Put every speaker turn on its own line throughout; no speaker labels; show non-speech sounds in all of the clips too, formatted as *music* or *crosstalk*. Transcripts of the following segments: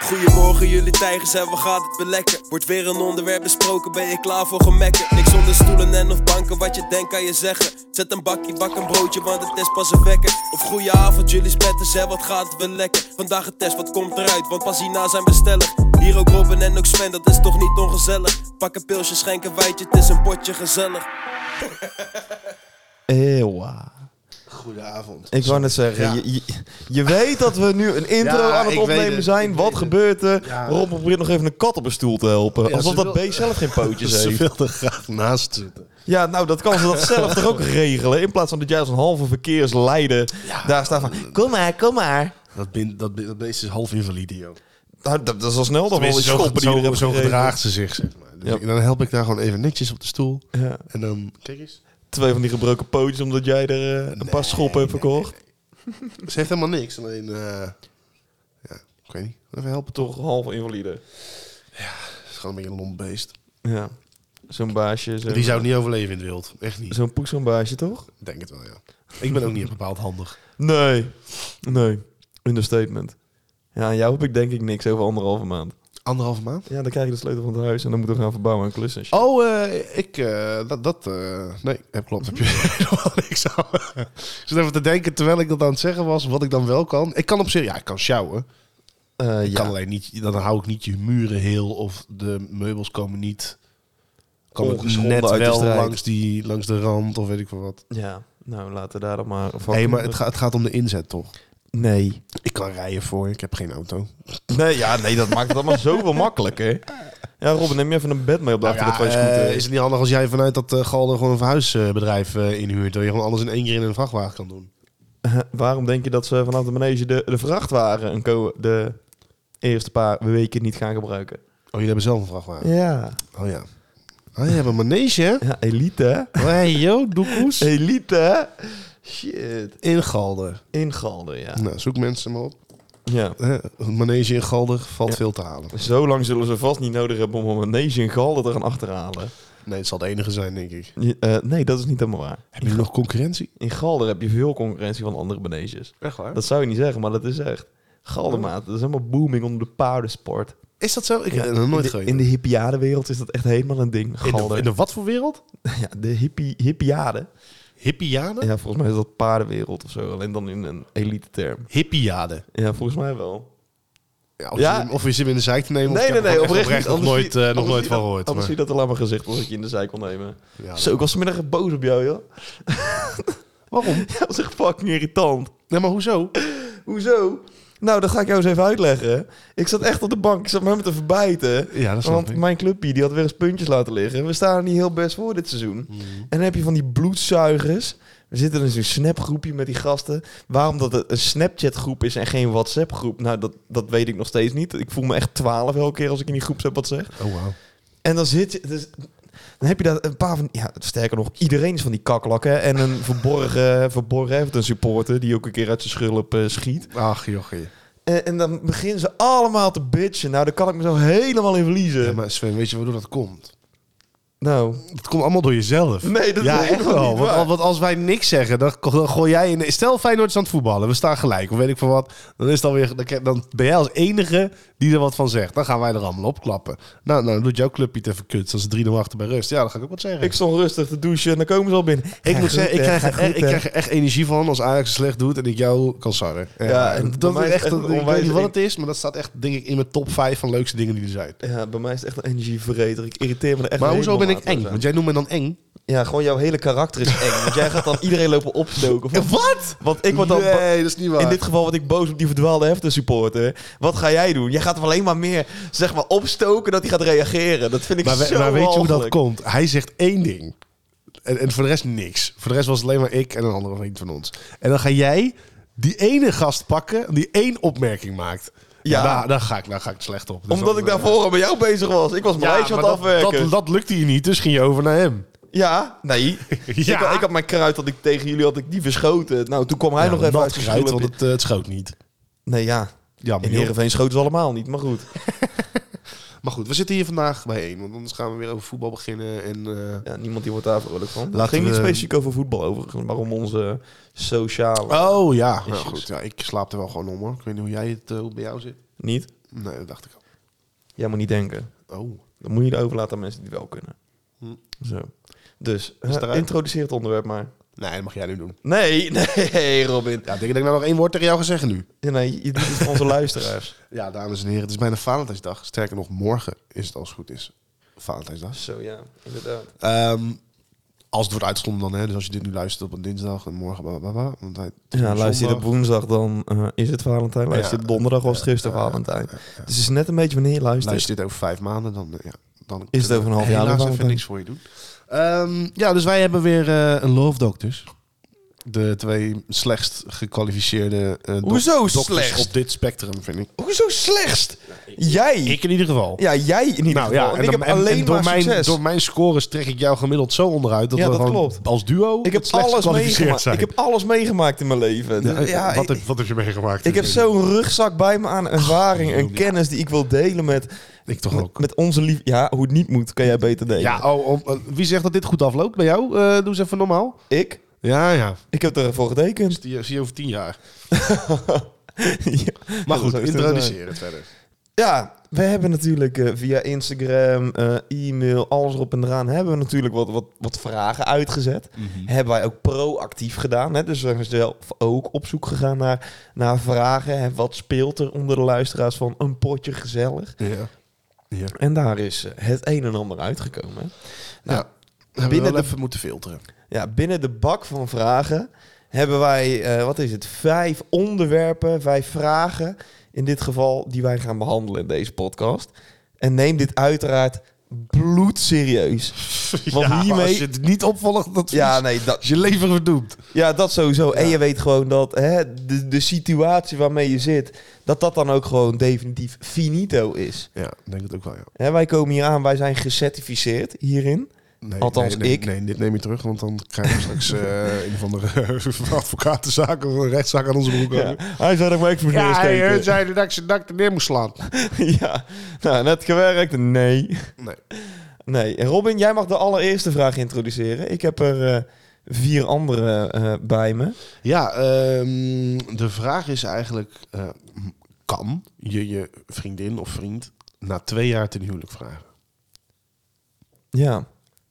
Goedemorgen jullie tijgers en wat gaat het weer lekker? Wordt weer een onderwerp besproken, ben je klaar voor gemekken? Niks onder stoelen en of banken, wat je denkt kan je zeggen Zet een bakje, bak een broodje, want het is pas een wekker Of goeie avond jullie spetters en wat gaat het weer lekker? Vandaag een test, wat komt eruit, want pas hierna zijn we stellig Hier ook Robin en ook Sven, dat is toch niet ongezellig? Pak een pilsje, schenk een wijtje, het is een potje gezellig
Ewa.
Goedenavond.
Ik wou net zeggen,
Ja.
je, je, je weet dat we nu een intro
Ja,
aan het
ik weet
opnemen
het,
zijn.
ik
Wat
weet
gebeurt er?
Ja.
Rob probeert nog even een kat op een stoel te helpen.
Ja,
Alsof
ze
dat
wil-
beest zelf geen pootjes
*laughs* Ze
heeft.
wilde graag naast zitten.
Ja, nou, dat kan ze dat zelf toch ook regelen. In plaats van dat jij als een halve verkeersleider daar staat van... Kom maar, kom maar.
Dat, bin, dat, bin- dat beest is half invalide, joh.
Nou, dat, dat is al snel dan wel
Tenminste,
eens
zo,
schoppen die je
zo,
er
zo,
hebt gegeven.
gedraagt ze zich, zeg maar. Dus
Ja.
ik- dan help ik daar gewoon even netjes op de stoel.
Ja.
En dan... Kijk eens.
Twee van die gebroken pootjes omdat jij er eh, een paar schoppen hebt verkocht.
Ze heeft helemaal niks, alleen... eh, ja, ik weet niet. Even helpen toch?
Toch half invalide.
Het is gewoon een beetje een lomp beest.
Ja. Zo'n baasje. Zo'n,
Die zou het niet overleven in het wild. Echt niet.
zo'n poes, zo'n baasje, toch?
Ik Denk het wel, ja. Ik ben ook niet bepaald handig.
Nee. Nee. Understatement. Ja, aan jou heb ik denk ik niks over anderhalve maand.
Anderhalve maand?
Ja, dan krijg je de sleutel van het huis en dan moeten we gaan verbouwen en klussen. en shit.
Oh, eh, ik... eh, dat... dat eh, nee, eh, klopt. Heb je *laughs* helemaal niks aan. ik zit even te denken, terwijl ik dat aan het zeggen was, wat ik dan wel kan. Ik kan op zich... Ja, ik kan sjouwen.
Eh,
Ik
ja.
kan alleen niet... Dan hou ik niet je muren heel of de meubels komen niet... Komen
Ongeschonden
net
uit de
wel
strijd.
langs, die, langs de rand of weet ik veel wat.
ja. Nou, laten we daar dan maar van.
Hé, maar het, gaat het gaat om de inzet, toch?
Nee.
Ik kan rijden voor, ik heb geen auto.
Nee, ja, nee, dat maakt het
*laughs*
allemaal zoveel makkelijker. Ja, Robin, neem je even een bed mee op de
Nou
achter de
ja,
twee
eh,
scooters.
is het niet handig als jij vanuit dat eh Galder gewoon een verhuisbedrijf eh, inhuurt? Dat je gewoon alles in één keer in een vrachtwagen kan doen.
Eh, Waarom denk je dat ze vanaf de manege de, de vrachtwagen een co- de eerste paar weken niet gaan gebruiken?
Oh, jullie hebben zelf een vrachtwagen?
Ja.
Oh ja. Oh, je hebt een
*laughs*
manege, hè?
Ja,
*laughs*
elite
Hé, hey, yo, doekoes.
hè? Elite hè? Shit.
In Galder.
Ingalden, ja.
Nou, zoek mensen maar op.
Ja.
Hè, Een manege in Galder valt
Ja.
veel te halen.
Zo lang zullen ze vast niet nodig hebben om een manege in Galden te gaan achterhalen.
Nee, het zal de enige zijn, denk ik.
Je- eh, nee, dat is niet helemaal waar.
Heb je nog concurrentie?
In Galder heb je veel concurrentie van andere maneges.
Echt waar?
Dat zou je niet zeggen, maar dat is echt. Galdermaat, dat is helemaal booming onder de paardensport.
is dat zo? Ik
Ja,
heb dat nooit
in de,
geweten.
in de hippiadewereld is dat echt helemaal een ding.
in,
Galder.
de, in de wat voor wereld?
ja, de hippie, hippiade.
Hippiaden?
Ja, volgens mij is dat paardenwereld of zo. Alleen dan in een elite term.
Hippiaden.
Ja, volgens mij wel.
Ja, of,
Ja.
Je, of je zit in de zeik te nemen. of
Nee,
ik
nee,
heb er
nee.
echt
Oprecht, niet,
oprecht nog
anders
nooit,
zie-
eh, nog
anders
nooit
zie
van
dat-
gehoord.
Anders
maar-
zie dat alleen maar gezegd als ik je in de zij kon nemen.
Ja,
Zo, ik was vanmiddag echt boos op jou, joh.
Waarom?
*laughs* Dat was echt fucking irritant.
Nee, maar hoezo?
Hoezo? Nou, dat ga ik jou eens even uitleggen. Ik zat echt op de bank. Ik zat me te verbijten.
Ja, dat snap
Want
ik.
mijn clubje die had weer eens puntjes laten liggen. We staan er niet heel best voor dit seizoen.
Mhm.
En dan heb je van die bloedzuigers. We zitten in zo'n snapgroepje met die gasten. Waarom dat het een Snapchat-groep is en geen WhatsApp-groep? Nou, dat, dat weet ik nog steeds niet. Ik voel me echt twaalf elke keer als ik in die groep heb wat zeg.
Oh, wauw.
En dan zit je... Dus, dan heb je daar een paar van... Ja, sterker nog, iedereen is van die kaklakken. En een verborgen, *laughs* verborgen Everton supporter... die ook een keer uit zijn schulp eh, schiet. Eh,
Ach, jochie.
En, en dan beginnen ze allemaal te bitchen. Nou, daar kan ik mezelf helemaal in verliezen.
Ja, maar Sven, weet je waardoor dat komt?
Nou,
Dat komt allemaal door jezelf.
Nee, dat is
ja,
helemaal
echt wel.
niet
want,
waar.
al- want als wij niks zeggen, dan, dan gooi jij... In, stel Feyenoord is aan het voetballen, we staan gelijk, of weet ik van wat. Dan, is het alweer, dan, dan ben jij als enige die er wat van zegt. Dan gaan wij er allemaal op klappen. Nou, nou dan doet jouw clubje het even kut. Als ze 3-0 achter bij rust, ja, dan ga ik ook wat zeggen.
ik
Ik,
stond rustig te douchen en dan komen ze al binnen. Ga
moet
goed,
zeggen, ik
hè,
krijg,
ga
er echt,
goed,
ik
hè.
krijg er echt energie van als Ajax het slecht doet en ik jou kan sarren.
Ja, en bij
dat
mij
is echt, een- ik
onwijs
weet niet wat
een-
het is, maar dat staat echt, denk ik, in mijn top 5 van leukste dingen die er zijn.
Ja, bij mij is het echt een energieverreter. Ik irriteer me er echt
Maar hoezo ben ik
helemaal
eng?
maatloos aan.
Want jij noemt me dan eng.
Ja, gewoon jouw hele karakter is eng. Want jij
*laughs*
gaat dan iedereen lopen opstoken. Van-
Wat?
Want ik word dan...
Nee, dat is niet waar.
In dit geval word ik boos op die verdwaalde hefte supporter. Wat ga jij doen? Jij gaat hem alleen maar meer zeg maar, opstoken dat hij gaat reageren. Dat vind ik
maar we-
zo
maar weet je hoe dat
walgelijk.
komt? Hij zegt één ding. En, en voor de rest niks. Voor de rest was het alleen maar ik en een andere vriend van ons. En dan ga jij die ene gast pakken die één opmerking maakt.
Ja.
Ja, daar, daar, ga, ik, daar ga ik slecht op. Dus
Omdat
dan,
ik daarvoor al met jou bezig was. Ik was mijn
Ja,
lijstje aan
maar
het
dat,
afwerken.
dat, dat lukte je niet, dus ging je over naar hem.
Ja,
*laughs*
nee. Ik, had, ik had mijn kruid dat ik tegen jullie had ik die verschoten. Nou, toen kwam hij
Ja,
nog even
nat
uit zijn
geruit,
schulp.
want het, eh, het schoot niet.
Nee, ja.
Jammer,
In
joh.
Heerenveen schoten ze allemaal niet, maar goed.
Maar goed, we zitten hier vandaag bijeen. Want anders gaan we weer over voetbal beginnen. En, eh,
Ja, niemand die wordt daar vrolijk van. Het
Laten
ging niet
we-
specifiek over voetbal overigens, maar om onze sociale...
Oh ja, nou,
Issues.
goed. Ja, ik slaap er wel gewoon om hoor. Ik weet niet hoe jij het eh, hoe het bij jou zit.
Niet?
Nee, dat dacht ik al.
Jij moet niet denken.
Oh,
Dan moet je het overlaten aan mensen die het wel kunnen.
Hm.
Zo. Dus,
het
eh,
eruit?
introduceer het onderwerp maar.
nee, dat mag jij nu doen.
Nee, *laughs* nee, Robin.
Ja, ik denk dat ik nou nog één woord tegen jou ga zeggen nu.
Ja, nee, je doet het voor
*laughs*
onze luisteraars.
Ja, dames en heren, het is bijna Valentijnsdag. Sterker nog, morgen is het als het goed is. Valentijnsdag.
Zo, ja, inderdaad.
Ehm, als het wordt uitgezonden dan, hè. Dus als je dit nu luistert op een dinsdag en morgen... Bla, bla, bla, want hij, het is
Ja,
nu
luister je
zondag.
dit op woensdag, dan eh, is het Valentijn. Luister je
Ja.
dit donderdag, was het gisteren
Ja, ja,
Valentijn.
ja, ja.
Dus het is net een beetje wanneer je luistert.
Luister je dit over vijf maanden, dan, eh, ja, dan
Is het over een half jaar
Helaas
nog
even
Valentijn?
niks voor je doen. Ehm, ja, dus wij hebben weer eh, een Love Doctors. De twee slechtst gekwalificeerde eh dok-
Hoezo
dokters
slechtst?
op dit spectrum, vind ik.
Hoezo slechtst? Jij?
Ik in ieder geval.
Ja, jij in ieder
Nou
geval.
ja,
en
en,
ik
dan-
heb
en-
alleen
en door,
maar
mijn,
succes.
door mijn scores trek ik jou gemiddeld zo onderuit dat
Ja,
we
dat
gewoon
klopt.
als duo
ik heb
het slechtst
alles
gekwalificeerd
meegemaakt.
zijn.
Ik heb alles meegemaakt in mijn leven.
Ja,
Dus ja,
wat,
ik,
heb, wat heb je meegemaakt?
ik heb zo'n rugzak bij me aan ervaring en
ja.
kennis die ik wil delen met,
Ik toch
met,
ook.
met onze lief. Ja, hoe het niet moet, kan jij beter delen.
Ja, oh, om- eh, wie zegt dat dit goed afloopt bij jou? Eh, doe eens even normaal.
Ik?
Ja, ja.
Ik heb ervoor
*laughs*
getekend.
Zie je, zie je over tien jaar.
*laughs* Ja.
Maar
dat
goed,
zou ik zeggen.
introduceer het verder.
Ja, we hebben natuurlijk eh, via Instagram, eh, e-mail, alles erop en eraan... hebben we natuurlijk wat, wat, wat vragen uitgezet.
Mhm.
Hebben wij ook proactief gedaan. Hè? Dus we zijn zelf ook op zoek gegaan naar, naar vragen. Hè? Wat speelt er onder de luisteraars van een potje gezellig?
Ja. Ja.
En daar is eh, het een en ander uitgekomen. hè. Nou,
ja. Hebben we
binnen
wel
de-
even moeten filteren.
Ja, binnen de bak van vragen hebben wij, eh, wat is het, vijf onderwerpen, vijf vragen in dit geval die wij gaan behandelen in deze podcast. En neem dit uiteraard bloedserieus. Want
maar
hiermee-
Als je het niet opvolgt, dat
Ja,
ja,
nee, dat,
is je leven verdoemd.
ja, dat sowieso. En je weet gewoon dat hè, de, de situatie waarmee je zit, dat dat dan ook gewoon definitief finito is.
Ja, ik denk het ook wel, ja.
Hè, wij komen hier aan, wij zijn gecertificeerd hierin.
Nee,
Althans,
nee, nee,
ik.
Nee, dit neem je terug, want dan krijgen we straks eh, een van de *laughs* advocatenzaak of een rechtszaak aan onze broek.
Ja. Hij zei dat ik voor
zei dat ik zijn dak neer moest slaan.
*laughs* Ja, nou, net gewerkt. Nee.
Nee.
Nee, en Robin, jij mag de allereerste vraag introduceren. Ik heb er eh, vier andere eh, bij me.
Ja, ehm, de vraag is eigenlijk, eh, m- kan je je vriendin of vriend na twee jaar ten huwelijk vragen?
Ja,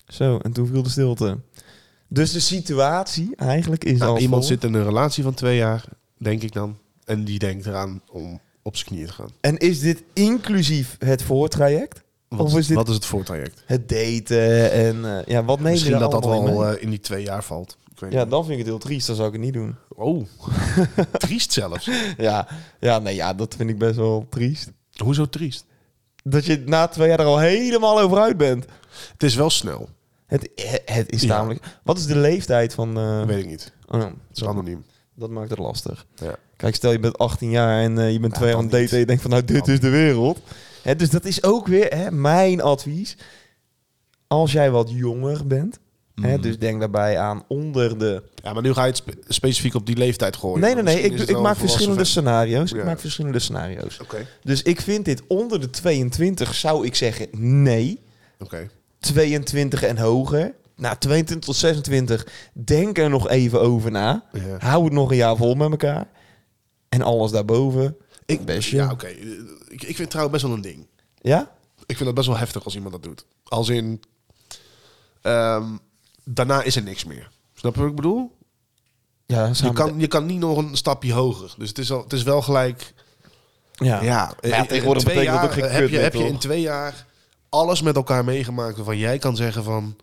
zo, en toen viel de stilte. Dus de situatie eigenlijk is
Nou,
al
iemand
vol.
zit in een relatie van twee jaar, denk ik dan, en die denkt eraan om op zijn knieën te gaan.
En is dit inclusief het voortraject?
Wat,
Of
is,
is dit-
wat is het voortraject?
Het daten en eh, ja, wat neem je
Misschien
daar
dat dat
allemaal in
wel
mee?
eh, in die twee jaar valt. Ik weet
Ja,
niet.
dan vind ik het heel triest. Dan zou ik het niet doen. *laughs*
Oh, *laughs* triest zelfs.
Ja, ja, nee, ja, dat vind ik best wel triest.
Hoezo triest?
Dat je na twee jaar er al helemaal over uit bent.
Het is wel snel.
Het, het is
Ja.
namelijk... Wat is de leeftijd van... eh,
Dat weet ik niet. Het
oh,
is anoniem.
Dat maakt het lastig.
Ja.
Kijk, stel je bent 18 jaar en eh, je bent
Ja,
twee jaar aan
dan
het daten en je denkt van nou, dit
Dan
is de wereld. Hè, dus dat is ook weer hè, mijn advies. Als jij wat jonger bent,
Mhm.
hè, dus denk daarbij aan onder de...
Ja, maar nu ga je het spe- specifiek op die leeftijd gooien.
Nee, nee, nee,
Misschien
ik,
is het
ik
wel
maak
een volwassen
verschillende scenario's. Ik
Ja.
maak verschillende scenario's.
vent. Oké,
Dus ik vind dit onder de 22 zou ik zeggen nee.
oké.
22 en hoger. Nou, 22 tot 26, denk er nog even over na.
Ja.
Hou het nog een jaar vol met elkaar. En alles daarboven.
Ik,
Best,
ja,
ja.
oké. Ik, ik vind trouwens best wel een ding.
Ja?
Ik vind dat best wel heftig als iemand dat doet. Als in... ehm, daarna is er niks meer. Snap je wat ik bedoel?
Ja,
Je
samen-
kan, je kan niet nog een stapje hoger. Dus het is, al, het is wel gelijk...
Ja.
Ja,
ja,
eh,
tegenwoordig betekent
twee
dat
jaar
ook geen
heb
kut
je,
meer,
heb je
toch?
in twee jaar alles met elkaar meegemaakt waarvan jij kan zeggen van...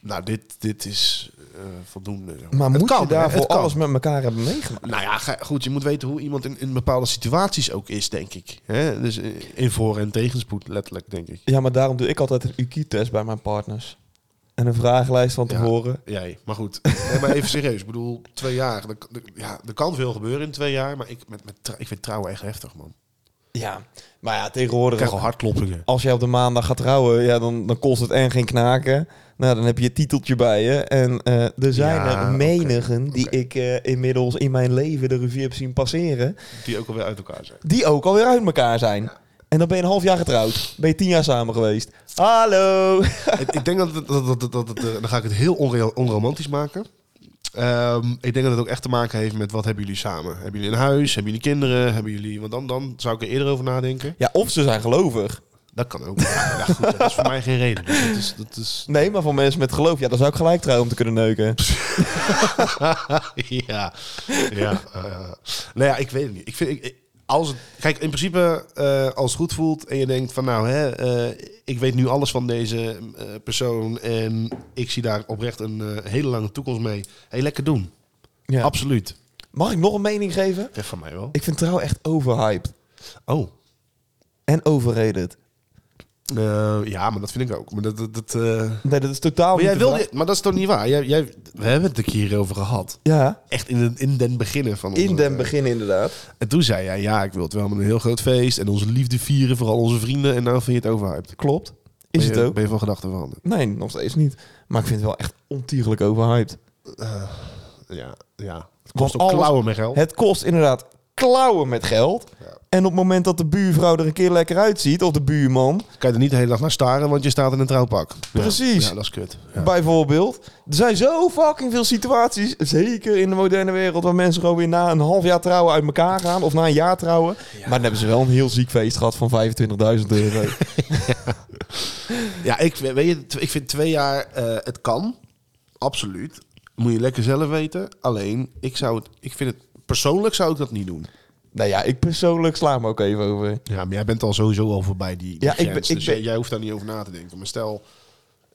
Nou, dit, dit is eh, voldoende. zeg
Maar
Het
moet
kan,
je
hè? Het
daarvoor
kan.
alles met elkaar hebben meegemaakt?
Nou ja, ga- goed, je moet weten hoe iemand in, in bepaalde situaties ook is, denk ik. hè dus eh, in voor- en tegenspoed, letterlijk, denk ik.
Ja, maar daarom doe ik altijd een IQ-test bij mijn partners. En een vragenlijst van
Ja.
tevoren.
Jij, maar goed. Nee, maar even serieus, ik bedoel, twee jaar. Er, er- ja, er kan veel gebeuren in twee jaar, maar ik, met, met, trou- ik vind trouwen echt heftig, man.
Ja. Maar ja,
Ik
tegenwoordig...
krijg al hartkloppingen.
Als jij op de maandag gaat trouwen, ja, dan, dan kost het en geen knaken. Nou, dan heb je je titeltje bij je. En eh, er zijn
Ja,
er
oké,
menigen die
oké.
ik eh, inmiddels in mijn leven de revue heb zien passeren.
Die ook alweer uit elkaar zijn.
Die ook alweer uit elkaar zijn. En dan ben je een half jaar getrouwd. Ben je tien jaar samen geweest. Hallo.
ik, ik denk dat, het- dat, dat, dat, dat- eh, dan ga ik het heel onreal- onromantisch maken. Ehm, ik denk dat het ook echt te maken heeft met wat hebben jullie samen? Hebben jullie een huis? Hebben jullie kinderen? Hebben jullie... Want dan, dan zou ik er eerder over nadenken.
Ja, of ze zijn gelovig.
Dat kan ook. Ja, goed, dat is voor mij geen reden. Dus dat is, dat is... *laughs*
Nee, maar voor mensen met geloof, ja, dan zou ik gelijk trouwen om te kunnen neuken.
ja. ja. eh, nou ja, ik weet het niet. Ik vind, ik- ik, als het, kijk, in principe, eh, als het goed voelt en je denkt van nou, hè, eh, ik weet nu alles van deze eh, persoon en ik zie daar oprecht een eh, hele lange toekomst mee. Hé, lekker doen.
Ja.
Absoluut.
Mag ik nog een mening geven?
Ja, van mij wel.
Ik vind trouw echt overhyped.
Oh.
En overrated.
Eh, ja, maar dat vind ik ook. Maar, dat, dat, dat, eh,
Nee, dat is totaal
maar,
niet
jij
de
wilde,
vraag.
maar dat is toch niet waar? Jij, jij, we hebben het een keer hierover gehad.
Ja,
Echt in den, in den beginnen van onze-
in den begin inderdaad.
En toen zei jij, ja, ik wil het wel met een heel groot feest en onze liefde vieren, vooral onze vrienden. En nou vind je het overhyped.
Klopt. Is
ben
het
je,
ook?
Ben je van gedachten veranderd?
Nee, nog steeds niet. Maar ik vind het wel echt ontiegelijk overhyped.
Ja, ja. Het
Want
kost ook
alles-
klauwen met geld.
Het kost inderdaad klauwen met geld.
Ja.
En op het moment dat de buurvrouw er een keer lekker uitziet, of de buurman,
Kan je er niet de hele dag naar staren, want je staat in een trouwpak. Ja.
Precies.
Ja, dat is kut. Ja.
bijvoorbeeld. Er zijn zo fucking veel situaties, zeker in de moderne wereld, waar mensen gewoon weer na een half jaar trouwen uit elkaar gaan, of na een jaar trouwen. Maar dan hebben ze wel een heel ziek feest gehad van 25.000 euro.
*laughs* Ja, ik, weet je, tw- ik vind twee jaar, eh, het kan. Absoluut. Moet je lekker zelf weten. Alleen, ik zou het, ik vind het, persoonlijk zou ik dat niet doen.
nou ja, ik persoonlijk sla me ook even over.
Ja, maar jij bent al sowieso al voorbij die, die
Ja, ik ben-
grens.
ik
dus
ben-
jij, jij hoeft daar niet over na te denken. Maar stel,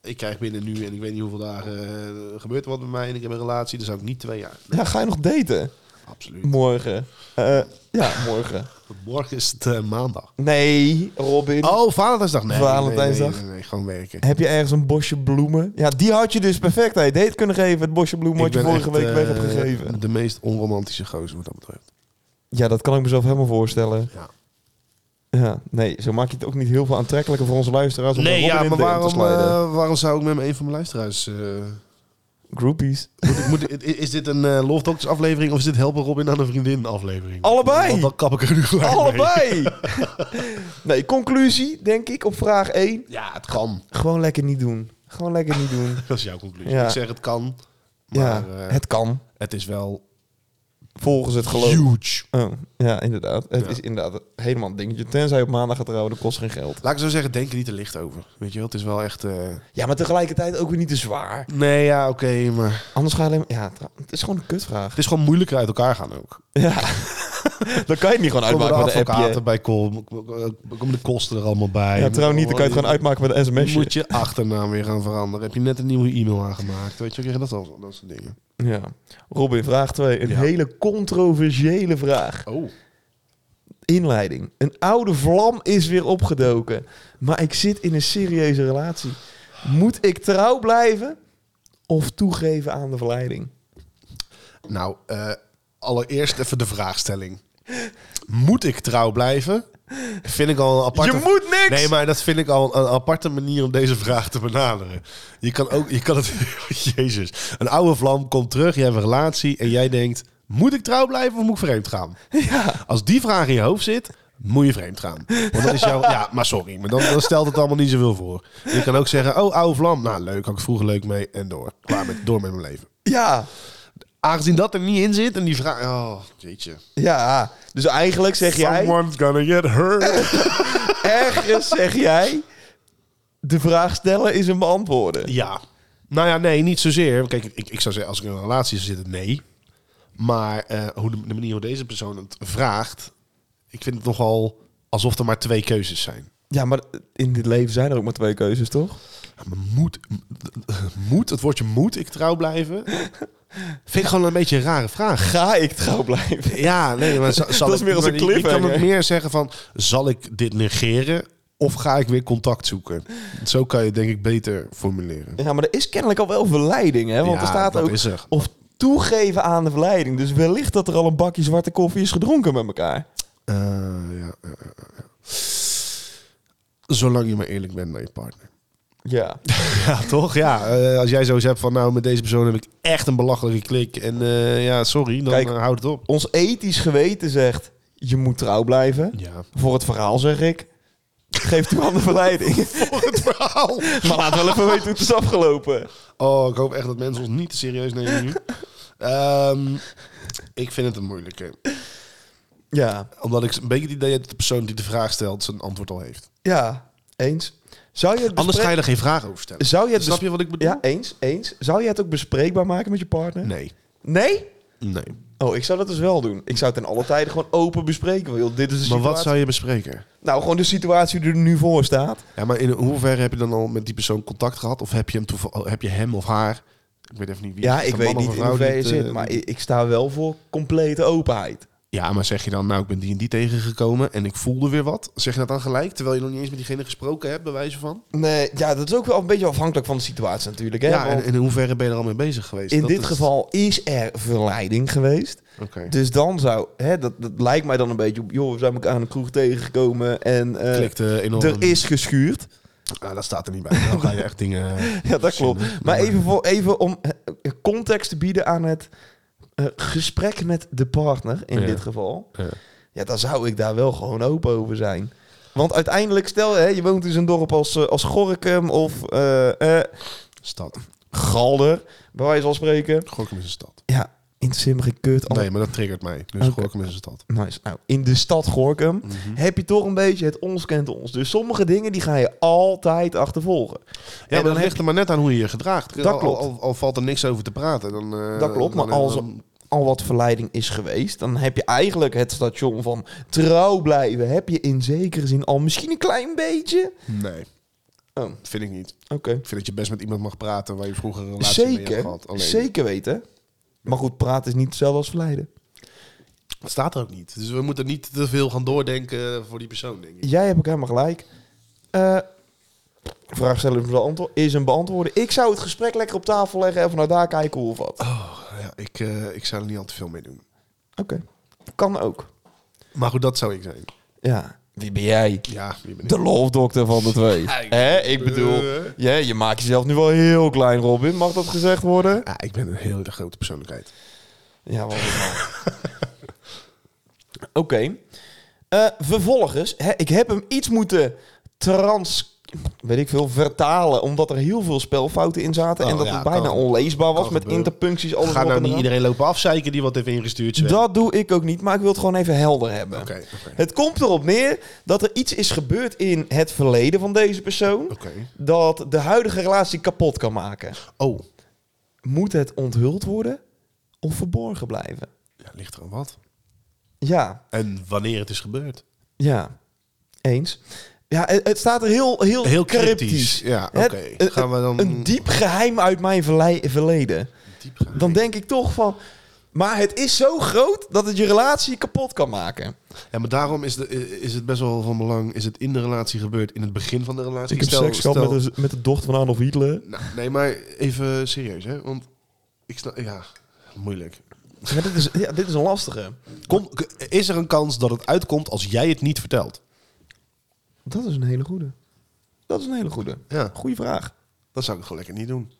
ik krijg binnen nu en ik weet niet hoeveel dagen eh, gebeurt er wat met mij en ik heb een relatie, dan zou ik niet twee jaar.
Ja, ga je nog daten?
Absoluut.
Morgen. Eh, ja, morgen.
Morgen is het eh, maandag.
Nee, Robin.
Oh, Valentijnsdag. Nee, nee, nee,
Valentijnsdag.
Nee, nee, nee, gewoon werken.
Heb je ergens een bosje bloemen? Ja, die had je dus perfect aan je date kunnen geven. Het bosje bloemen wat
Ik
je
ben
vorige
echt,
week weg
eh,
hebt gegeven.
De meest onromantische gozer wat dat betreft.
Ja, dat kan ik mezelf helemaal voorstellen.
Ja.
Ja, nee, zo maak je het ook niet heel veel aantrekkelijker voor onze luisteraars. Om nee, ja, maar waarom... Te
waarom,
sliden.
eh, waarom zou ik met een van mijn luisteraars... eh,
*laughs* Groupies.
moet ik, moet, ik- is dit een eh Love Doctors aflevering of is dit Helpen Robin aan een vriendin aflevering?
Allebei!
Want dan kap ik er nu gelijk mee.
Allebei! nee, conclusie, denk ik, op vraag 1.
*laughs* Ja, het kan.
Gewoon lekker niet doen. Gewoon lekker niet doen.
Dat is jouw conclusie.
Ja.
Ik zeg het kan,
ja,
maar eh, het...
het kan.
is wel
Volgens het geloof.
huge.
Oh, ja, inderdaad. Het
Ja.
is inderdaad helemaal een dingetje. Tenzij je op maandag gaat trouwen, dat kost geen geld.
Laat ik zo zeggen, denk er niet te licht over. Weet je wel, het is wel echt... eh,
Ja, maar tegelijkertijd ook weer niet te zwaar.
Nee, ja, oké, maar...
Anders ga je alleen maar... Ja, trouw- het is gewoon een kutvraag.
Het is gewoon moeilijker uit elkaar gaan ook.
Ja. *laughs* dan kan je het niet gewoon
Komen de
uitmaken met een
advocaten
appje.
bij, kom- komen de kosten er allemaal bij.
Ja, trouw niet, dan kan je het gewoon uitmaken met een sms'je.
Moet je achternaam weer gaan veranderen. Heb je net een nieuwe e-mail aangemaakt. Weet je, wel, dat, soort- dat soort dingen.
Ja. Robin, vraag 2. Een
Ja.
hele controversiële vraag.
Oh.
Inleiding. Een oude vlam is weer opgedoken. Maar ik zit in een serieuze relatie. Moet ik trouw blijven of toegeven aan de verleiding?
Nou, eh, allereerst even de vraagstelling. Moet ik trouw blijven? Vind ik al een aparte...
Je moet niks!
Nee, maar dat vind ik al een aparte manier om deze vraag te benaderen. Je kan ook, je kan het, *laughs* jezus, een oude vlam komt terug, je hebt een relatie en jij denkt, moet ik trouw blijven of moet ik vreemd
*laughs*
gaan?
Ja.
Als die vraag in je hoofd zit, moet je vreemd gaan. Want dan is jouw, ja, maar sorry, maar dan, dan stelt het allemaal niet zoveel voor. Je kan ook zeggen, oh oude vlam, nou leuk, had ik vroeger leuk mee en door. Klaar met, door met mijn leven.
Ja.
Aangezien dat er niet in zit en die vraag, oh jeetje.
Ja. Dus eigenlijk zeg jij...
Someone's gonna get hurt.
*laughs* Ergens zeg jij... De vraag stellen is een beantwoorden.
*laughs* Ja. Nou ja, nee, niet zozeer. Kijk, ik, ik zou zeggen, als ik in een relatie zou zitten, nee. Maar eh, hoe de, de manier hoe deze persoon het vraagt, ik vind het nogal alsof er maar twee keuzes zijn.
Ja, maar in dit leven zijn er ook maar twee keuzes, toch?
Ja, maar moet, moet, het woordje moet ik trouw blijven? Vind ik gewoon een beetje een rare vraag.
Ga ik trouw blijven?
Ja, nee, *laughs* maar za- zal
Dat is
ik-
meer als een
ik- Ik kan
cliffhanger.
het meer zeggen van, zal ik dit negeren of ga ik weer contact zoeken? Zo kan je het denk ik beter formuleren.
Ja, maar er is kennelijk al wel verleiding, hè? Want
Ja,
er staat
dat
ook
is er.
of toegeven aan de verleiding. Dus wellicht dat er al een bakje zwarte koffie is gedronken met elkaar.
Eh, ja, ja, ja, ja. Zolang je maar eerlijk bent naar je partner.
Ja.
*laughs* Ja, toch? Ja, eh, als jij zoiets hebt van, nou, met deze persoon heb ik echt een belachelijke klik. En eh, ja, sorry, dan
Kijk.
eh, houd het op.
Ons ethisch geweten zegt je moet trouw blijven.
Ja.
Voor het verhaal zeg ik Geef toe aan de verleiding.
*laughs* Het verhaal.
maar laat wel even weten hoe het is afgelopen.
Oh, ik hoop echt dat mensen ons niet te serieus nemen nu. Ehm, ik vind het een moeilijke.
Ja,
Omdat ik een beetje het idee heb dat de persoon die de vraag stelt zijn antwoord al heeft.
ja, eens. Zou je het
Anders ga
bespre-
je er geen vraag over stellen. Dus-
Zou je het
Snap
bes-
je wat ik bedoel?
Ja, eens, eens. Zou je het ook bespreekbaar maken met je partner?
Nee.
Nee?
Nee.
Oh, ik zou dat dus wel doen. Ik zou het in alle tijden gewoon open bespreken. Want, joh, dit is de
Maar wat
situatie.
zou je bespreken?
Nou, gewoon de situatie die er nu voor staat.
Ja, maar in hoeverre heb je dan al met die persoon contact gehad? Of heb je hem, toeval, heb je hem of haar? Ik weet even niet wie.
Ja,
het is,
ik
een man
weet
of
niet
een
in
vrouw
hoeverre je
die het,
zit,
eh,
maar ik, ik sta wel voor complete openheid.
Ja, maar zeg je dan, nou, ik ben die en die tegengekomen en ik voelde weer wat. Zeg je dat dan gelijk, terwijl je nog niet eens met diegene gesproken hebt, bij wijze van?
Nee, ja, dat is ook wel een beetje afhankelijk van de situatie natuurlijk. Hè?
Ja, en,
Want
en in hoeverre ben je er al mee bezig geweest?
in
Dat
dit
is-
geval is er verleiding geweest.
Oké.
Dus dan zou, hè, dat, dat lijkt mij dan een beetje op, joh, we zijn elkaar aan een kroeg tegengekomen en eh,
Klikt eh, enorm.
er is geschuurd.
Ah, dat staat er niet bij. Dan ga je echt dingen...
*laughs* Ja, dat klopt.
verzinnen.
Maar even, voor, even om eh, context te bieden aan het eh, gesprek met de partner in
Ja.
dit geval.
Ja.
Ja, dan zou ik daar wel gewoon open over zijn. Want uiteindelijk, stel hè, je woont in zo'n dorp als, eh, als Gorkum of eh, eh,
Stad.
Galder, bij wijze van spreken.
Gorkum is een stad.
Ja, interesseer me geen kut. al-
Nee, maar dat triggert mij. Dus
Oh. Oké.
Gorkum is een stad.
Nice. Nou, in de stad Gorkum
Mhm.
heb je toch een beetje het ons kent ons. Dus sommige dingen die ga je altijd achtervolgen.
Ja,
dan
maar dat
heb
ligt er maar net aan hoe je je gedraagt.
Dat
Al- al-
klopt.
Al, al valt er niks over te praten. Dan, eh,
Dat klopt, maar
dan-
als-
dan-
al wat verleiding is geweest, dan heb je eigenlijk het station van trouw blijven. Heb je in zekere zin al misschien een klein beetje.
Nee,
Oh,
vind ik niet.
oké.
Ik vind dat je best met iemand mag praten waar je vroeger een relatie mee hebt
Zeker,
gehad. Alleen,
zeker weten. Maar goed, praten is niet hetzelfde als verleiden.
Het staat er ook niet. Dus we moeten niet te veel gaan doordenken voor die persoon, denk ik.
Jij hebt ook helemaal gelijk. Eh, vraag stellen is een beantwo- is een beantwoorden. Ik zou het gesprek lekker op tafel leggen en vanuit daar kijken hoe of wat. Oké,
Ja, ik, eh, ik zou er niet al te veel mee doen.
kan ook.
Maar goed, dat zou ik zijn.
Ja. Wie ben jij?
Ja, wie ben ik?
De love doctor van de twee. Hè? Ik bedoel,
Eh.
ja, je maakt jezelf nu wel heel klein, Robin. Mag dat gezegd worden?
Ja, ik ben een hele grote persoonlijkheid.
Ja,
*laughs*
wat is nou? Oké. Eh, vervolgens, hè, ik heb hem iets moeten trans... Weet ik veel, vertalen, omdat er heel veel spelfouten in zaten.
Oh,
en dat
ja,
het bijna
kan-
onleesbaar was
kan
met
gebeuren.
interpuncties. Alles
Ga
erop
nou
en
niet
eraan.
iedereen lopen afzeiken die wat heeft ingestuurd. Sven.
Dat doe ik ook niet, maar ik wil het gewoon even helder hebben.
Oké, oké.
Het komt erop neer dat er iets is gebeurd in het verleden van deze persoon...
Oké.
dat de huidige relatie kapot kan maken.
Oh,
Moet het onthuld worden of verborgen blijven?
ja, ligt er aan wat.
Ja,
En wanneer het is gebeurd.
Ja, eens. Ja, het, het staat er heel, heel,
Heel
cryptisch.
cryptisch. Ja,
Het-
oké.
een-
Gaan we dan-
Een diep geheim uit mijn verlei- verleden.
Diep gaan.
Dan denk ik toch van... Maar het is zo groot dat het je relatie kapot kan maken.
Ja, maar daarom is, de, is het best wel van belang. Is het in de relatie gebeurd, in het begin van de relatie? Stel- stel-
de, met de dochter van Adolf Hitler.
Nou, nee, maar even serieus, hè? Want ik snap, ja, moeilijk.
Ja, dit, is, ja, dit is een lastige.
Kom, is er een kans dat het uitkomt als jij het niet vertelt?
Dat is een hele goede. Dat is een hele goede.
Ja.
Goeie vraag.
Dan zou ik het gewoon lekker niet doen.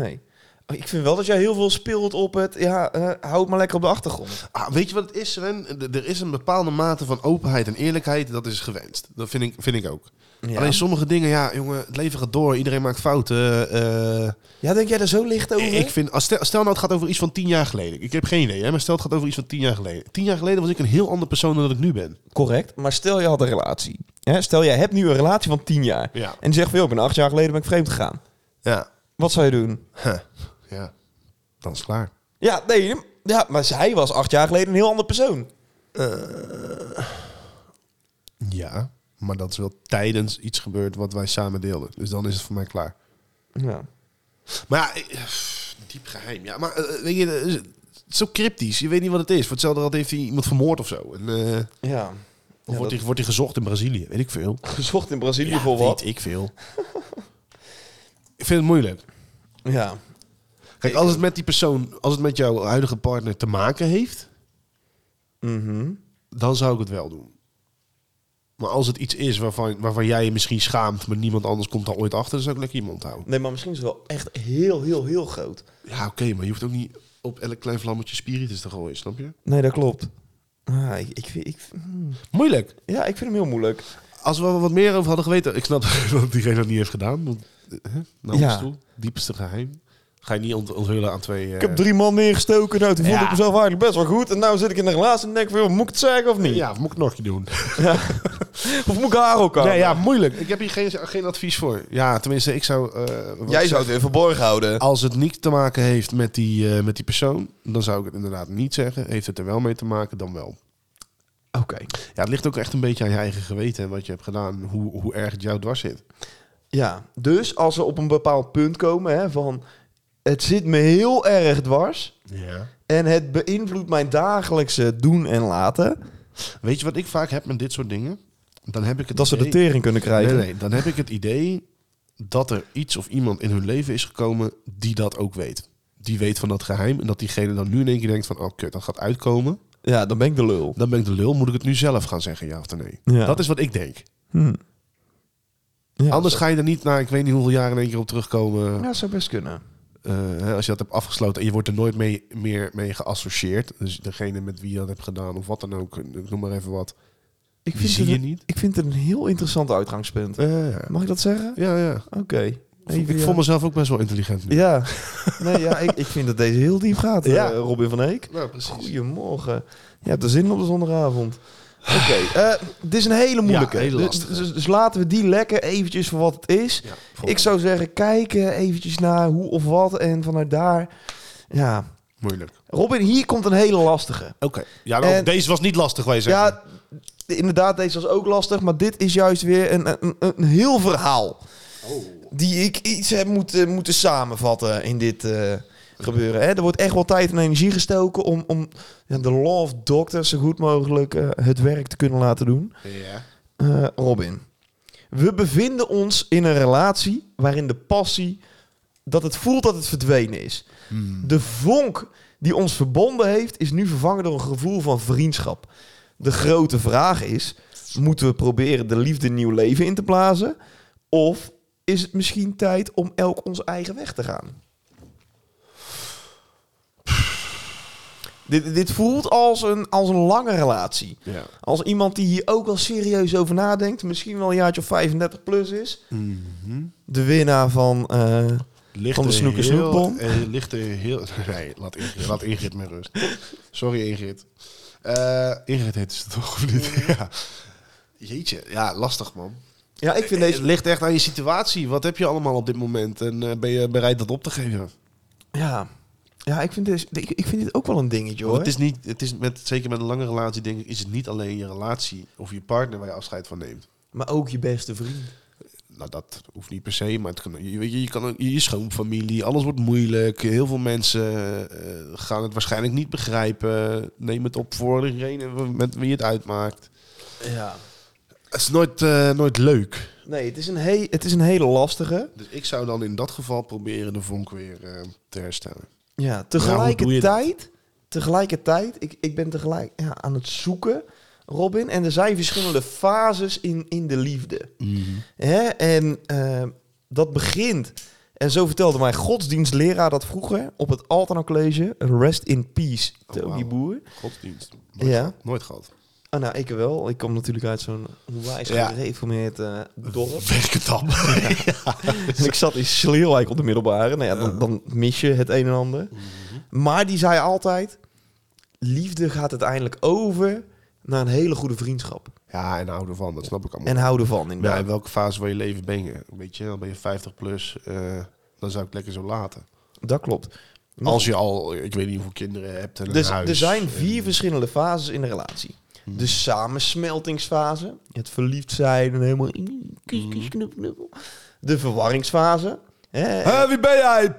Nee. Oh, Ik vind wel dat jij heel veel speelt op het... Ja, eh hou het maar lekker op de achtergrond.
Ah, weet je wat het is, Sven? D- Er is een bepaalde mate van openheid en eerlijkheid. Dat is gewenst. Dat vind ik, vind ik ook.
Ja.
Alleen sommige dingen, ja, jongen, het leven gaat door. Iedereen maakt fouten. eh,
Ja, denk jij er zo licht over?
Ik vind, als stel, stel nou het gaat over iets van tien jaar geleden. Ik heb geen idee, hè, maar stel het gaat over iets van tien jaar geleden. Tien jaar geleden was ik een heel ander persoon dan dat ik nu ben.
Correct, maar stel je had een relatie. Hè? Stel jij hebt nu een relatie van 10 jaar.
Ja.
En die zegt van, joh, ik ben acht jaar geleden ben ik vreemd gegaan.
Ja.
Wat zou je doen?
Huh. Ja. Dan is het klaar.
Ja, nee, ja, maar hij was acht jaar geleden een heel ander persoon.
Ja. Maar dat is wel tijdens iets gebeurd wat wij samen deelden. Dus dan is het voor mij klaar.
Ja.
Maar ja, ik- eh, diep geheim. Ja, maar eh, weet je, eh, het is zo cryptisch. Je weet niet wat het is. Voor hetzelfde geld heeft hij iemand vermoord of zo. En, eh, of
ja. *laughs*
wordt, hij, wordt hij gezocht in Brazilië? Weet ik veel.
gezocht in Brazilië
Ja,
voor wat?
Weet ik veel. ik vind het moeilijk.
Ja.
Kijk, als het met die persoon, als het met jouw huidige partner te maken heeft,
Mhm.
dan zou ik het wel doen. Maar als het iets is waarvan, waarvan jij je misschien schaamt, maar niemand anders komt daar ooit achter, dan zou ik lekker iemand houden.
Nee, maar misschien is het wel echt heel, heel, heel groot.
Ja, oké, maar je hoeft ook niet op elk klein vlammetje spiritus te gooien, snap je?
Nee, dat klopt. Ah, ik, ik, vind- ik, hmm.
Moeilijk.
ja, ik vind hem heel moeilijk.
Als we er wat meer over hadden geweten... Ik snap *laughs* dat diegene dat niet heeft gedaan. Want, eh, hè, naar
Ja.
ons toe. Diepste geheim. Ga je niet ont- onthullen aan twee... eh,
Ik heb drie man neergestoken. Nou, toen voelde
Ja.
ik mezelf eigenlijk best wel goed. En nou zit ik in de relatie en denk ik, van, joh, moet ik het zeggen of niet?
Ja, of moet ik nog een keer doen?
Of moet ik haar ook aan?
Nee, ja, moeilijk. Ik heb hier geen, geen advies voor. Ja, tenminste, ik zou... eh, wat
Jij
ik
zou het weer verborgen houden.
Als het niet te maken heeft met die, eh, met die persoon, dan zou ik het inderdaad niet zeggen. Heeft het er wel mee te maken, dan wel.
Oké.
Ja, het ligt ook echt een beetje aan je eigen geweten en wat je hebt gedaan, hoe, hoe erg het jou dwars zit.
Ja, dus als ze op een bepaald punt komen hè, van... Het zit me heel erg dwars.
Ja.
En het beïnvloedt mijn dagelijkse doen en laten.
Weet je wat ik vaak heb met dit soort dingen? Dan heb ik het
Dat ze de
idee-
tering kunnen krijgen.
Nee, nee, dan heb ik het idee dat er iets of iemand in hun leven is gekomen die dat ook weet. Die weet van dat geheim en dat diegene dan nu in één keer denkt van, oh kut, dat gaat uitkomen.
Ja, dan ben ik de lul.
Dan ben ik de lul, moet ik het nu zelf gaan zeggen, ja of nee?
Ja.
Dat is wat ik denk.
Hm. Ja,
Anders ga je er niet na, ik weet niet hoeveel jaar in één keer op terugkomen.
Ja, zou best kunnen.
Eh, hè, als je dat hebt afgesloten en je wordt er nooit mee, meer mee geassocieerd. Dus degene met wie je dat hebt gedaan of wat dan ook, ik noem maar even wat.
Ik
Die
vind,
zie
het,
je
een-
niet.
ik vind het een heel interessant uitgangspunt.
ja.
Mag ik dat zeggen?
ja, ja.
Oké.
Ik,
Even,
voel
ja.
mezelf ook best wel intelligent nu.
Ja, *laughs* nee, ja ik, ik vind dat deze heel diep gaat, eh,
Ja.
Robin van Eek.
Nou, precies.
Goedemorgen. Je hebt er zin in op de zondagavond. Oké,
*sighs*
eh, dit is een hele moeilijke.
Ja, hele
Dus-
lastige.
dus, dus laten we die lekker eventjes voor wat het is.
Ja,
ik zou zeggen, kijken eventjes naar hoe of wat en vanuit daar... Ja,
Moeilijk.
Robin, hier komt een hele lastige.
Oké. Ja, maar ook
En-
deze was niet lastig, wij zeggen.
Ja, inderdaad, deze was ook lastig, maar dit is juist weer een, een, een- een heel verhaal. Die ik iets heb moeten, moeten samenvatten in dit eh, gebeuren. Hè? Er wordt echt wel tijd en energie gestoken om, om ja, de love doctor zo goed mogelijk eh, het werk te kunnen laten doen.
Ja.
Eh, Robin, we bevinden ons in een relatie waarin de passie, dat het voelt dat het verdwenen is. Mm. De vonk die ons verbonden heeft, is nu vervangen door een gevoel van vriendschap. De grote vraag is, moeten we proberen de liefde nieuw leven in te blazen? Of is het misschien tijd om elk onze eigen weg te gaan? Dit, dit voelt als een, als een lange relatie.
ja.
Als iemand die hier ook wel serieus over nadenkt, misschien wel een jaartje of 35 plus is.
Mhm.
De winnaar van. eh,
Ligt
Van de
er
snoeker
heel-
snoekbom.
eh, ligt er heel... *laughs* Nee, laat Ingrid, laat Ingrid met rust. Sorry, Ingrid. Eh, Ingrid heet ze toch, of niet? *laughs* ja. Jeetje, ja, lastig, man.
ja, ik vind
Het
deze.
ligt echt aan je situatie. Wat heb je allemaal op dit moment? En eh, ben je bereid dat op te geven?
Ja, ja ik, vind deze, ik, ik vind dit ook wel een dingetje
Want
hoor.
het is niet, het is met, zeker met een lange relatie, denk ik, is het niet alleen je relatie of je partner waar je afscheid van neemt.
Maar ook je beste vriend.
Nou, dat hoeft niet per se, maar het kan, je, weet je, je kan ook- je schoonfamilie, alles wordt moeilijk. Heel veel mensen eh, gaan het waarschijnlijk niet begrijpen. Neem het op voor degene met wie je het uitmaakt.
Ja.
Het is nooit, eh, nooit leuk.
Nee, het is, een he- het is een hele lastige.
Dus ik zou dan in dat geval proberen de vonk weer eh, te herstellen.
Ja,
hoe doe je
tegelijkertijd. Tegelijkertijd, ik, ik ben tegelijk ja, aan het zoeken, Robin. En er zijn verschillende fases in, in de liefde. Hè? En eh, dat begint, en zo vertelde mijn godsdienstleraar dat vroeger op het Altena College, Rest in Peace,
Oh,
Tony
wauw.
Boer.
Godsdienst. Nooit,
Ja.
gehad. Nooit
*laughs*
gehad.
Oh, nou, ik wel. Ik kom natuurlijk uit zo'n onwijs
Ja.
gereformeerd eh, dorp.
Werkendam.
En ik zat in Sleelwijk op de middelbare. Nou ja, dan, dan mis je het een en ander.
Mhm.
Maar die zei altijd, liefde gaat uiteindelijk over naar een hele goede vriendschap.
Ja, en houden van, dat snap ik allemaal.
En houden van,
Ja,
inderdaad.
in welke fase van je leven ben je? Weet je, dan ben je 50 plus, eh, dan zou ik het lekker zo laten.
Dat klopt. Maar
Als je al, ik weet niet hoeveel kinderen hebt en een
Dus
huis.
er zijn
en-
vier verschillende fases in de relatie. De samensmeltingsfase, het verliefd zijn en helemaal kus, kus, knuffel, knuffel. De verwarringsfase. Hè,
Hé, wie ben
*laughs*
jij?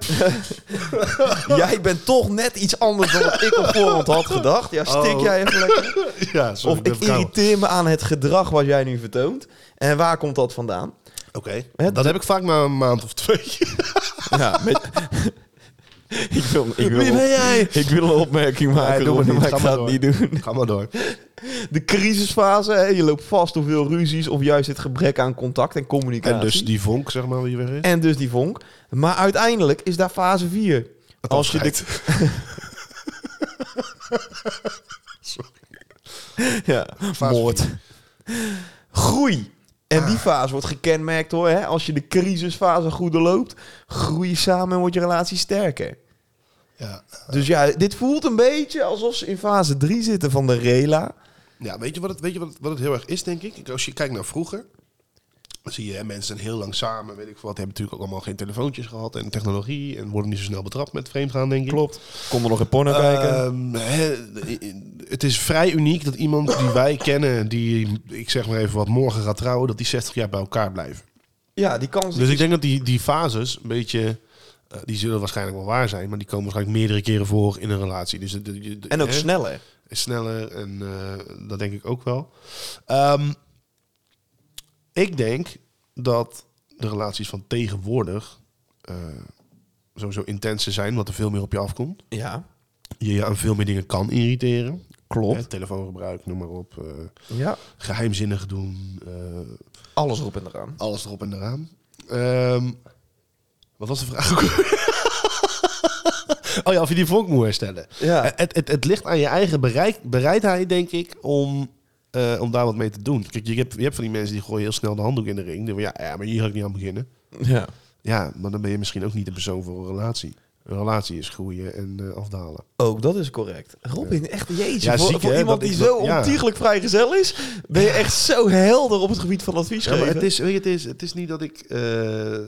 jij bent toch net iets anders dan wat ik op voorhand had gedacht. Ja, stik
Oh.
jij even lekker.
*laughs* ja, sorry,
Of ik irriteer me aan het gedrag wat jij nu vertoont. En waar komt dat vandaan?
Oké,
Hè,
dat heb ik vaak na een maand of twee.
*laughs* Ja, met... ik, wil, ik, wil,
Wie ben jij?
*laughs* ik wil een opmerking maken,
doe maar
Ron,
niet.
maar
Ga
ik
maar
ga het
door.
niet doen.
Ga maar door.
De crisisfase, hè, je loopt vast of veel ruzies of juist het gebrek aan contact en communicatie.
En dus die vonk, zeg maar, wie weg is.
En dus die vonk. Maar uiteindelijk is daar fase 4. Als je de,
*laughs* Afscheid.
*laughs* ja, moord. Groei. En die fase wordt gekenmerkt hoor. Hè? Als je de crisisfase goed loopt, groei je samen en wordt je relatie sterker.
Ja.
Dus ja, dit voelt een beetje alsof ze in fase 3 zitten van de rela.
Ja, weet je, wat het, weet je wat, het, wat het heel erg is, denk ik? Ik- Als je kijkt naar vroeger, dan zie je hè, mensen zijn heel lang samen, weet ik veel wat. Die hebben natuurlijk ook allemaal geen telefoontjes gehad en technologie. En worden niet zo snel betrapt met vreemdgaan, denk ik.
Klopt. Eh, Kom er nog in porno kijken.
Ehm, hè, het is vrij uniek dat iemand
*coughs*
die wij kennen, die, ik zeg maar even wat, morgen gaat trouwen, dat die 60 jaar bij elkaar blijven.
Ja, die kans
Dus ik denk dat die, die fases een beetje... eh, die zullen waarschijnlijk wel waar zijn, maar die komen waarschijnlijk meerdere keren voor in een relatie. Dus, de- de- de-
En ook
hè?
sneller.
is sneller en eh, dat denk ik ook wel. Ehm, ik denk dat de relaties van tegenwoordig eh, sowieso intenser zijn, omdat er veel meer op je afkomt.
Ja,
Je je aan veel meer dingen kan irriteren.
klopt.
Hè, telefoongebruik, noem maar op. eh,
Ja.
geheimzinnig doen. eh,
Alles erop en eraan.
alles erop en eraan. Ehm, wat was de vraag? ook alweer? *laughs* oh ja, of je die vonk moet herstellen. Eh,
Ja.
Het, het, het ligt aan je eigen bereik, bereidheid, denk ik, om, eh, om daar wat mee te doen. Kijk, je hebt, je hebt van die mensen die gooien heel snel de handdoek in de ring. Die van, ja, ja, maar hier ga ik niet aan beginnen.
Ja.
Ja, maar dan ben je misschien ook niet de persoon voor een relatie. Een relatie is groeien en eh, afdalen.
Ook dat is correct. Robin, echt jeetje.
Ja,
voor
ziek,
voor
hè,
iemand
dat
die
is-
zo
dat- ja.
ontiegelijk vrijgezel is, ben je echt zo helder op het gebied van advies
Ja, maar
geven.
het is, weet je, het is, het is niet dat ik eh,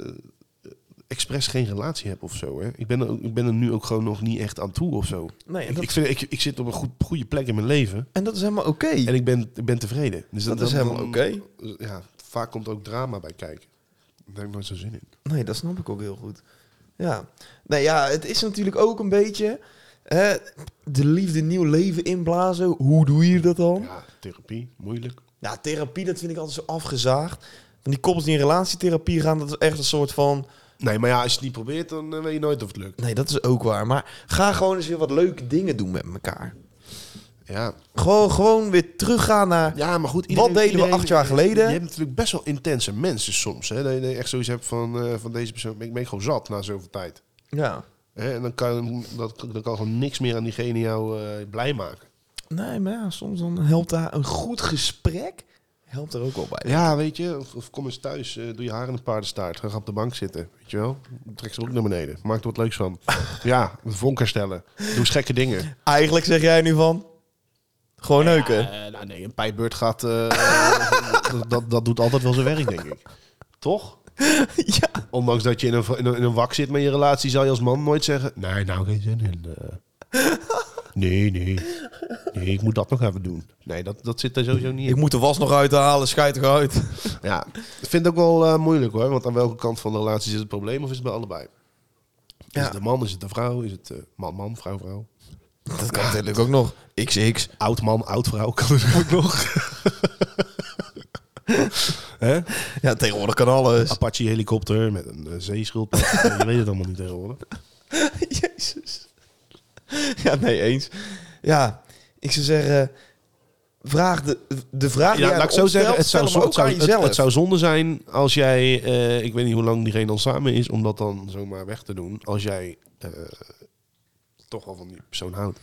expres geen relatie heb of zo. Hè. Ik, ben er, ook- ik ben er nu ook gewoon nog niet echt aan toe of zo.
Nee, en
Ik,
dat,
ik, vind, ik, ik zit op een goed, goede plek in mijn leven
en dat is helemaal oké.
en ik ben, ik ben tevreden. Dus
Dat is helemaal oké.
Ja, vaak komt ook drama bij kijken. Daar heb ik nooit zo zin in.
Nee, dat snap ik ook heel goed. Ja. Nou ja, het is natuurlijk ook een beetje hè, de liefde nieuw leven inblazen. Hoe doe je dat dan?
Ja, therapie, moeilijk.
Ja, therapie, dat vind ik altijd zo afgezaagd. Want die koppels die in relatietherapie gaan, dat is echt een soort van...
Nee, maar ja, als je het niet probeert, dan eh, weet je nooit of het lukt.
Nee, dat is ook waar. Maar ga gewoon eens weer wat leuke dingen doen met elkaar.
Ja,
Gewoon, gewoon weer teruggaan naar...
ja maar goed.
deden we acht jaar geleden?
Je hebt natuurlijk best wel intense mensen soms. Hè, dat je echt zoiets hebt van, eh, van deze persoon. Ik ben gewoon zat na zoveel tijd.
Ja.
Hè, en dan kan, dat, dan kan gewoon niks meer aan diegene jou eh, blij maken.
Nee, maar ja, soms dan helpt daar een goed gesprek helpt er ook wel bij.
Ja, weet je, of, of kom eens thuis, eh, doe je haar in een paardenstaart. Ga op de bank zitten, weet je wel. Trek ze ook naar beneden. Maak er wat leuks *laughs* van. ja, vonk herstellen. Doe eens gekke *laughs* dingen.
Eigenlijk zeg jij nu van... Gewoon neuken.
Eh, nou nee, een pijpbeurt gaat... eh, *laughs* dat, dat, dat doet altijd wel zijn werk, denk ik. *laughs* Toch?
ja.
Ondanks dat je in een, in een, in een wak zit met je relatie, zal je als man nooit zeggen... Nee, nou geen zin in. *laughs* eh. nee, nee. Nee, ik moet dat nog even doen. Nee, dat, dat zit er sowieso niet in.
Ik moet de was nog uithalen, scheid eruit.
Ja, ik vind het ook wel eh, moeilijk hoor. Want aan welke kant van de relatie zit het probleem of is het bij allebei? Is
Ja.
het de man, is het de vrouw, is het eh, man-man, vrouw-vrouw?
*laughs* Dat kan natuurlijk ook nog. XX.
Oud man, oud vrouw kan het ook
*laughs*
nog. Hè?
Ja, tegenwoordig kan alles.
Apache helikopter met een eh,
*laughs*
zeeschildpad. Eh, je weet het allemaal niet tegenwoordig.
Ah, Jezus. *laughs* Ja, nee, eens. Ja, ik zou zeggen... Vraag de, de vraag die
Ja,
jij
laat ik zo
opstelt,
zeggen, het zou,
stel hem
zo-
ook
het, zou,
aan
het,
jezelf.
het zou zonde zijn als jij, eh, ik weet niet hoe lang diegene dan samen is, om dat dan zomaar weg te doen. Als jij eh, toch wel van die persoon houdt.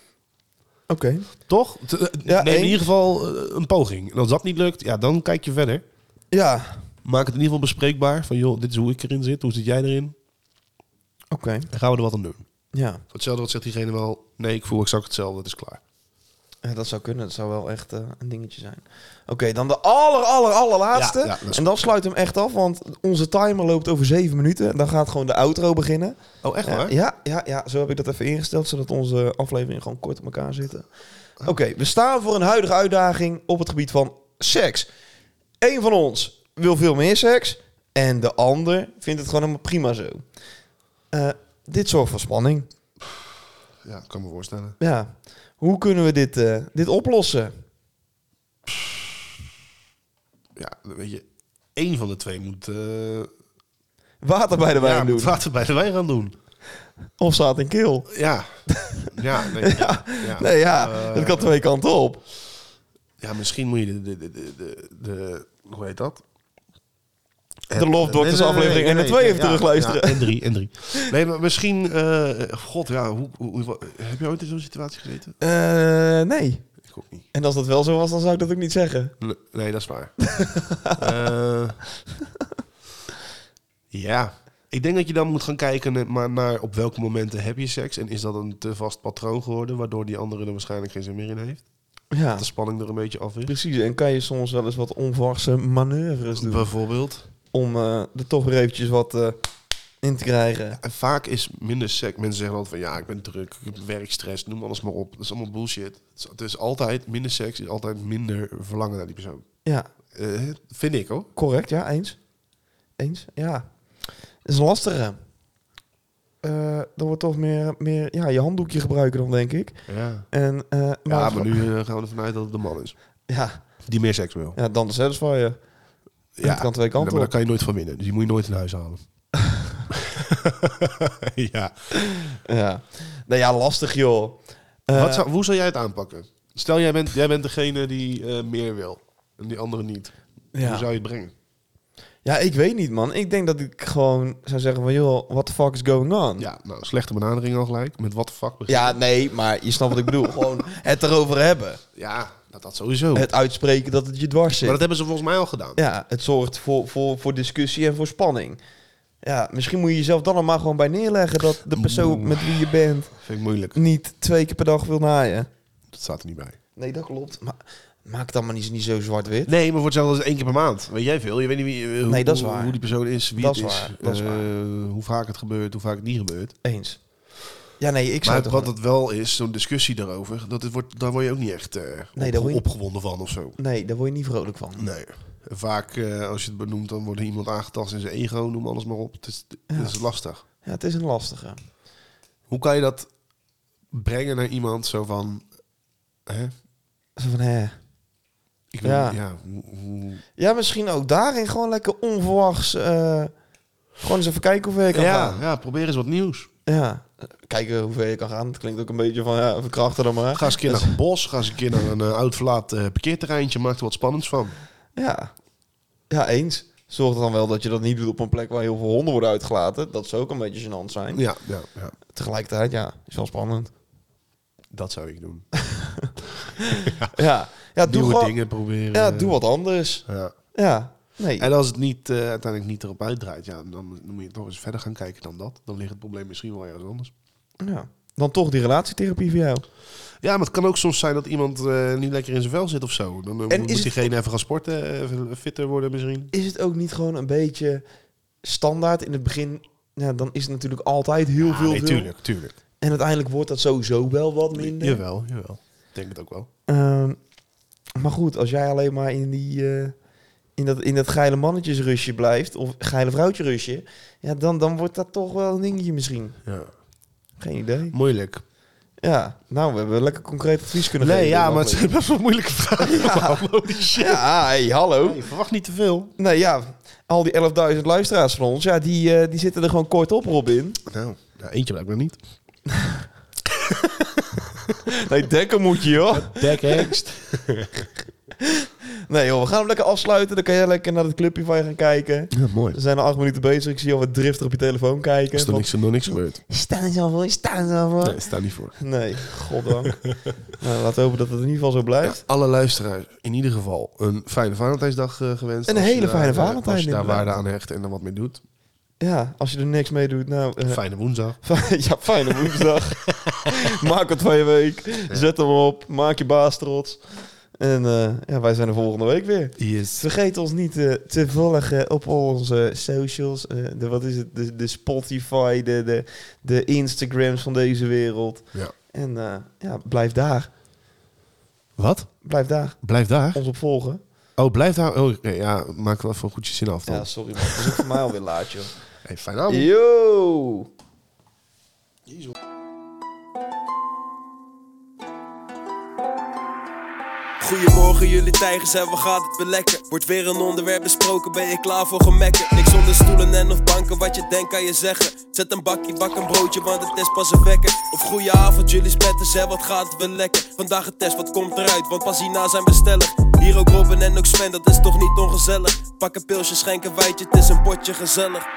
Oké.
Toch? T- eh,
Ja,
neem in
één.
ieder geval eh, een poging. En als dat niet lukt, ja, dan kijk je verder.
Ja,
Maak het in ieder geval bespreekbaar. Van joh, dit is hoe ik erin zit. Hoe zit jij erin?
oké.
En gaan we er wat aan doen.
Ja.
Hetzelfde wat zegt diegene wel. Nee, ik voel exact hetzelfde. Het is klaar.
Ja, Eh, dat zou kunnen. Dat zou wel echt eh, een dingetje zijn. Oké, dan de aller, aller, allerlaatste.
Ja, ja, dat is
en dan sluit hem echt af, want onze timer loopt over zeven minuten. Dan gaat gewoon de outro beginnen.
Oh, echt
Eh, ja, ja, ja, zo heb ik dat even ingesteld, zodat onze afleveringen gewoon kort op elkaar zitten.
Ah.
Oké, we staan voor een huidige uitdaging op het gebied van seks. Eén van ons wil veel meer seks en de ander vindt het gewoon helemaal prima zo. Eh, dit zorgt voor spanning.
Ja, kan me voorstellen.
Ja, hoe kunnen we dit, eh, dit oplossen?
Ja, weet je. één van de twee moet... eh
Water bij de wijn
ja, moet
doen.
water bij de wijn gaan doen.
Of staat in keel. *laughs*
Ja. ja, nee, ja. ja.
Nee, ja, Eh. het kan twee kanten op.
Ja, misschien moet je de... de, de, de, de hoe heet dat?
De Love Doctors aflevering en de twee even terugluisteren.
en drie, en drie. Nee, maar misschien... eh, god, ja, hoe, hoe, hoe- heb je ooit in zo'n situatie gezeten?
Eh, nee.
Ik ik ook niet.
En als dat wel zo was, dan zou ik dat ook niet zeggen.
Le- Nee, dat is waar. *laughs* Eh, ja. Ik denk dat je dan moet gaan kijken naar- maar naar op welke momenten heb je seks. En is dat een te vast patroon geworden, waardoor die andere er waarschijnlijk geen zin meer in heeft?
Ja,
Dat de spanning er een beetje af is.
precies. En kan je soms wel eens wat onverse manoeuvres doen
Bijvoorbeeld.
om eh, er toch weer eventjes wat eh, in te krijgen.
En vaak is minder seks. Mensen zeggen altijd van ja, ik ben druk, ik heb werkstress, noem alles maar op. Dat is allemaal bullshit. Het is, het is altijd minder seks, is altijd minder verlangen naar die persoon.
Ja,
Eh, vind ik hoor.
correct. Ja, eens. Eens, ja. Dat is een lastige. Eh dan wordt toch meer, meer ja, je handdoekje gebruiken dan, denk ik.
Ja.
En, eh,
Ja, maar nu eh, gaan we ervan uit dat het de man is.
Ja,
Die meer seks wil.
ja, dan de satisfier. Ja, het kan twee kanten
maar daar
op.
kan je nooit van winnen. Dus die moet je nooit in huis
*laughs*
halen. ja.
Ja. Nou ja, lastig joh. Eh,
Wat zou, hoe zou jij het aanpakken? Stel, jij bent, jij bent degene die eh, meer wil en die andere niet. Hoe
ja.
zou je het brengen?
ja, ik weet niet man. Ik denk dat ik gewoon zou zeggen van joh, what the fuck is going on?
Ja, nou, slechte benadering al gelijk. Met wat de fuck begin-
Ja, nee, maar je snapt wat ik
*laughs*
bedoel. Gewoon het erover hebben.
Ja, dat, dat sowieso.
Het uitspreken dat het je dwars
Maar
zit.
dat hebben ze volgens mij al gedaan.
Ja, het zorgt voor, voor, voor discussie en voor spanning. Ja, misschien moet je jezelf dan er maar gewoon bij neerleggen dat de persoon
Oeh.
met wie je bent
Vind ik moeilijk.
niet twee keer per dag wil naaien.
Dat staat er niet bij.
Nee, dat klopt. Maar maak het allemaal niet, niet zo zwart-wit.
Nee, maar voor hetzelfde is één keer per maand. Weet jij veel? Je weet niet wie, eh, hoe,
Nee, dat is
hoe-
waar.
hoe die persoon is, wie
Dat
het
is
is,
waar, dat is
eh, hoe vaak het gebeurt, hoe vaak het niet gebeurt.
Eens. Ja, nee, ik zou
maar
toch
wat het wel is, zo'n discussie daarover, dat het wordt, daar word je ook niet echt eh,
Nee, daar
opge-
word je-
opgewonden van of zo.
Nee, daar word je niet vrolijk van.
Nee. Vaak, eh, als je het benoemt, dan wordt iemand aangetast in zijn ego, noem alles maar op. Het is, het is lastig.
Ja, het is een lastige.
Hoe kan je dat brengen naar iemand zo van... Hè?
Zo van, hè.
Ik weet
Ja.
niet, ja, hoe- hoe-
Ja, misschien ook daarin gewoon lekker onverwachts. eh, gewoon eens even kijken hoe ver je kan
ja,
gaan.
ja, probeer eens wat nieuws.
Ja. Kijken hoe ver je kan gaan. Het klinkt ook een beetje van, ja, verkrachten dan maar.
Ga eens een keer naar een bos, ga eens een keer naar een eh, oud verlaat eh, parkeerterreintje, maak er wat spannends van.
Dus, Ja. Ja, eens. Zorg er dan wel dat je dat niet doet op een plek waar heel veel honden worden uitgelaten. Dat zou ook een beetje gênant zijn.
Ja, ja, ja.
Tegelijkertijd, ja, is wel
*laughs*
spannend.
dat zou ik doen.
Ja, ja doe
Nieuwe
gewoon...
dingen eh. proberen.
Ja, doe wat anders.
Ja.
Ja. Nee.
En als het niet, eh, uiteindelijk niet erop uitdraait, ja, dan, dan moet je toch eens verder gaan kijken dan dat. Dan ligt het probleem misschien wel ergens anders.
Ja. Dan toch die relatietherapie voor jou.
Ja, maar het kan ook soms zijn dat iemand eh, niet lekker in zijn vel zit of zo. Dan eh,
En
moet
is het-
diegene even gaan sporten, eh, even fitter worden misschien.
is het ook niet gewoon een beetje standaard in het begin? Ja, dan is het natuurlijk altijd heel veel.
nee,
veel.
tuurlijk, tuurlijk.
En uiteindelijk wordt dat sowieso wel wat minder.
Jawel, jawel. Ik denk het ook wel.
Ehm, maar goed, als jij alleen maar in, die, eh, in, dat, in dat geile mannetjesrusje blijft, of geile vrouwtjerusje, ja, dan, dan wordt dat toch wel een dingetje misschien.
Ja.
Geen idee.
Moeilijk.
Ja, nou, we hebben lekker concreet advies kunnen
Nee,
geven.
ja,
in
maar
de
het zijn best wel moeilijke vragen. *laughs*
aflevering. *laughs* Ja, ja hey, hallo.
Je verwacht niet te veel.
Nou ja, al die 11.000 luisteraars van ons, ja, die, eh, die zitten er gewoon kort op, Robin.
Nou, nou eentje blijkbaar niet.
Nee, dekken moet je, joh.
Dekhengst.
Nee joh, we gaan hem lekker afsluiten. Dan kan jij lekker naar het clubje van je gaan kijken.
Ja, mooi.
We zijn al acht minuten bezig. Ik zie al wat driftig op je telefoon kijken.
Is er niks, nog niks gebeurd?
Staan er zo voor, staan er zo voor.
Nee, sta niet voor.
Nee,
*laughs*
goddank. nou, laten we hopen dat het in ieder geval zo blijft.
Alle luisteraars in ieder geval een fijne Valentijnsdag eh, gewenst.
Een
Als
hele
je daar,
fijne
eh, Als
Valentijn,
je daar
inderdaad.
waarde aan hecht en er wat mee doet.
Ja, als je er niks mee doet, nou... *laughs* eh,
Fijne woensdag.
fi- ja, fijne
*laughs*
woensdag. maak het van je week. Zet hem op. Maak je baas trots. En eh, ja, wij zijn er volgende week weer.
Yes.
Vergeet ons niet eh, te volgen op al onze socials. Eh, de, wat is het? De, de Spotify, de, de, de Instagrams van deze wereld.
Ja.
En eh, ja, blijf daar.
Wat?
Blijf daar.
Blijf daar?
Ons opvolgen.
Oh, blijf daar. Oh, oké, ja, maak wel even goed je zin af dan.
Ja, sorry man. Het is ook voor mij alweer laat, joh.
Hey, fijne avond.
Yo!
Goedemorgen jullie tijgers en wat gaat het weer lekker? Wordt weer een onderwerp besproken, ben je klaar voor gemekken? Niks onder stoelen en of banken, wat je denkt kan je zeggen Zet een bakje, bak een broodje, want het is pas een wekker Of goeie avond jullie spetters en wat gaat het weer lekker? Vandaag een test, wat komt eruit, want pas hierna zijn we stellig Hier ook Robin en ook Sven, dat is toch niet ongezellig? Pak een pilsje, schenk een wijtje, het is een potje gezellig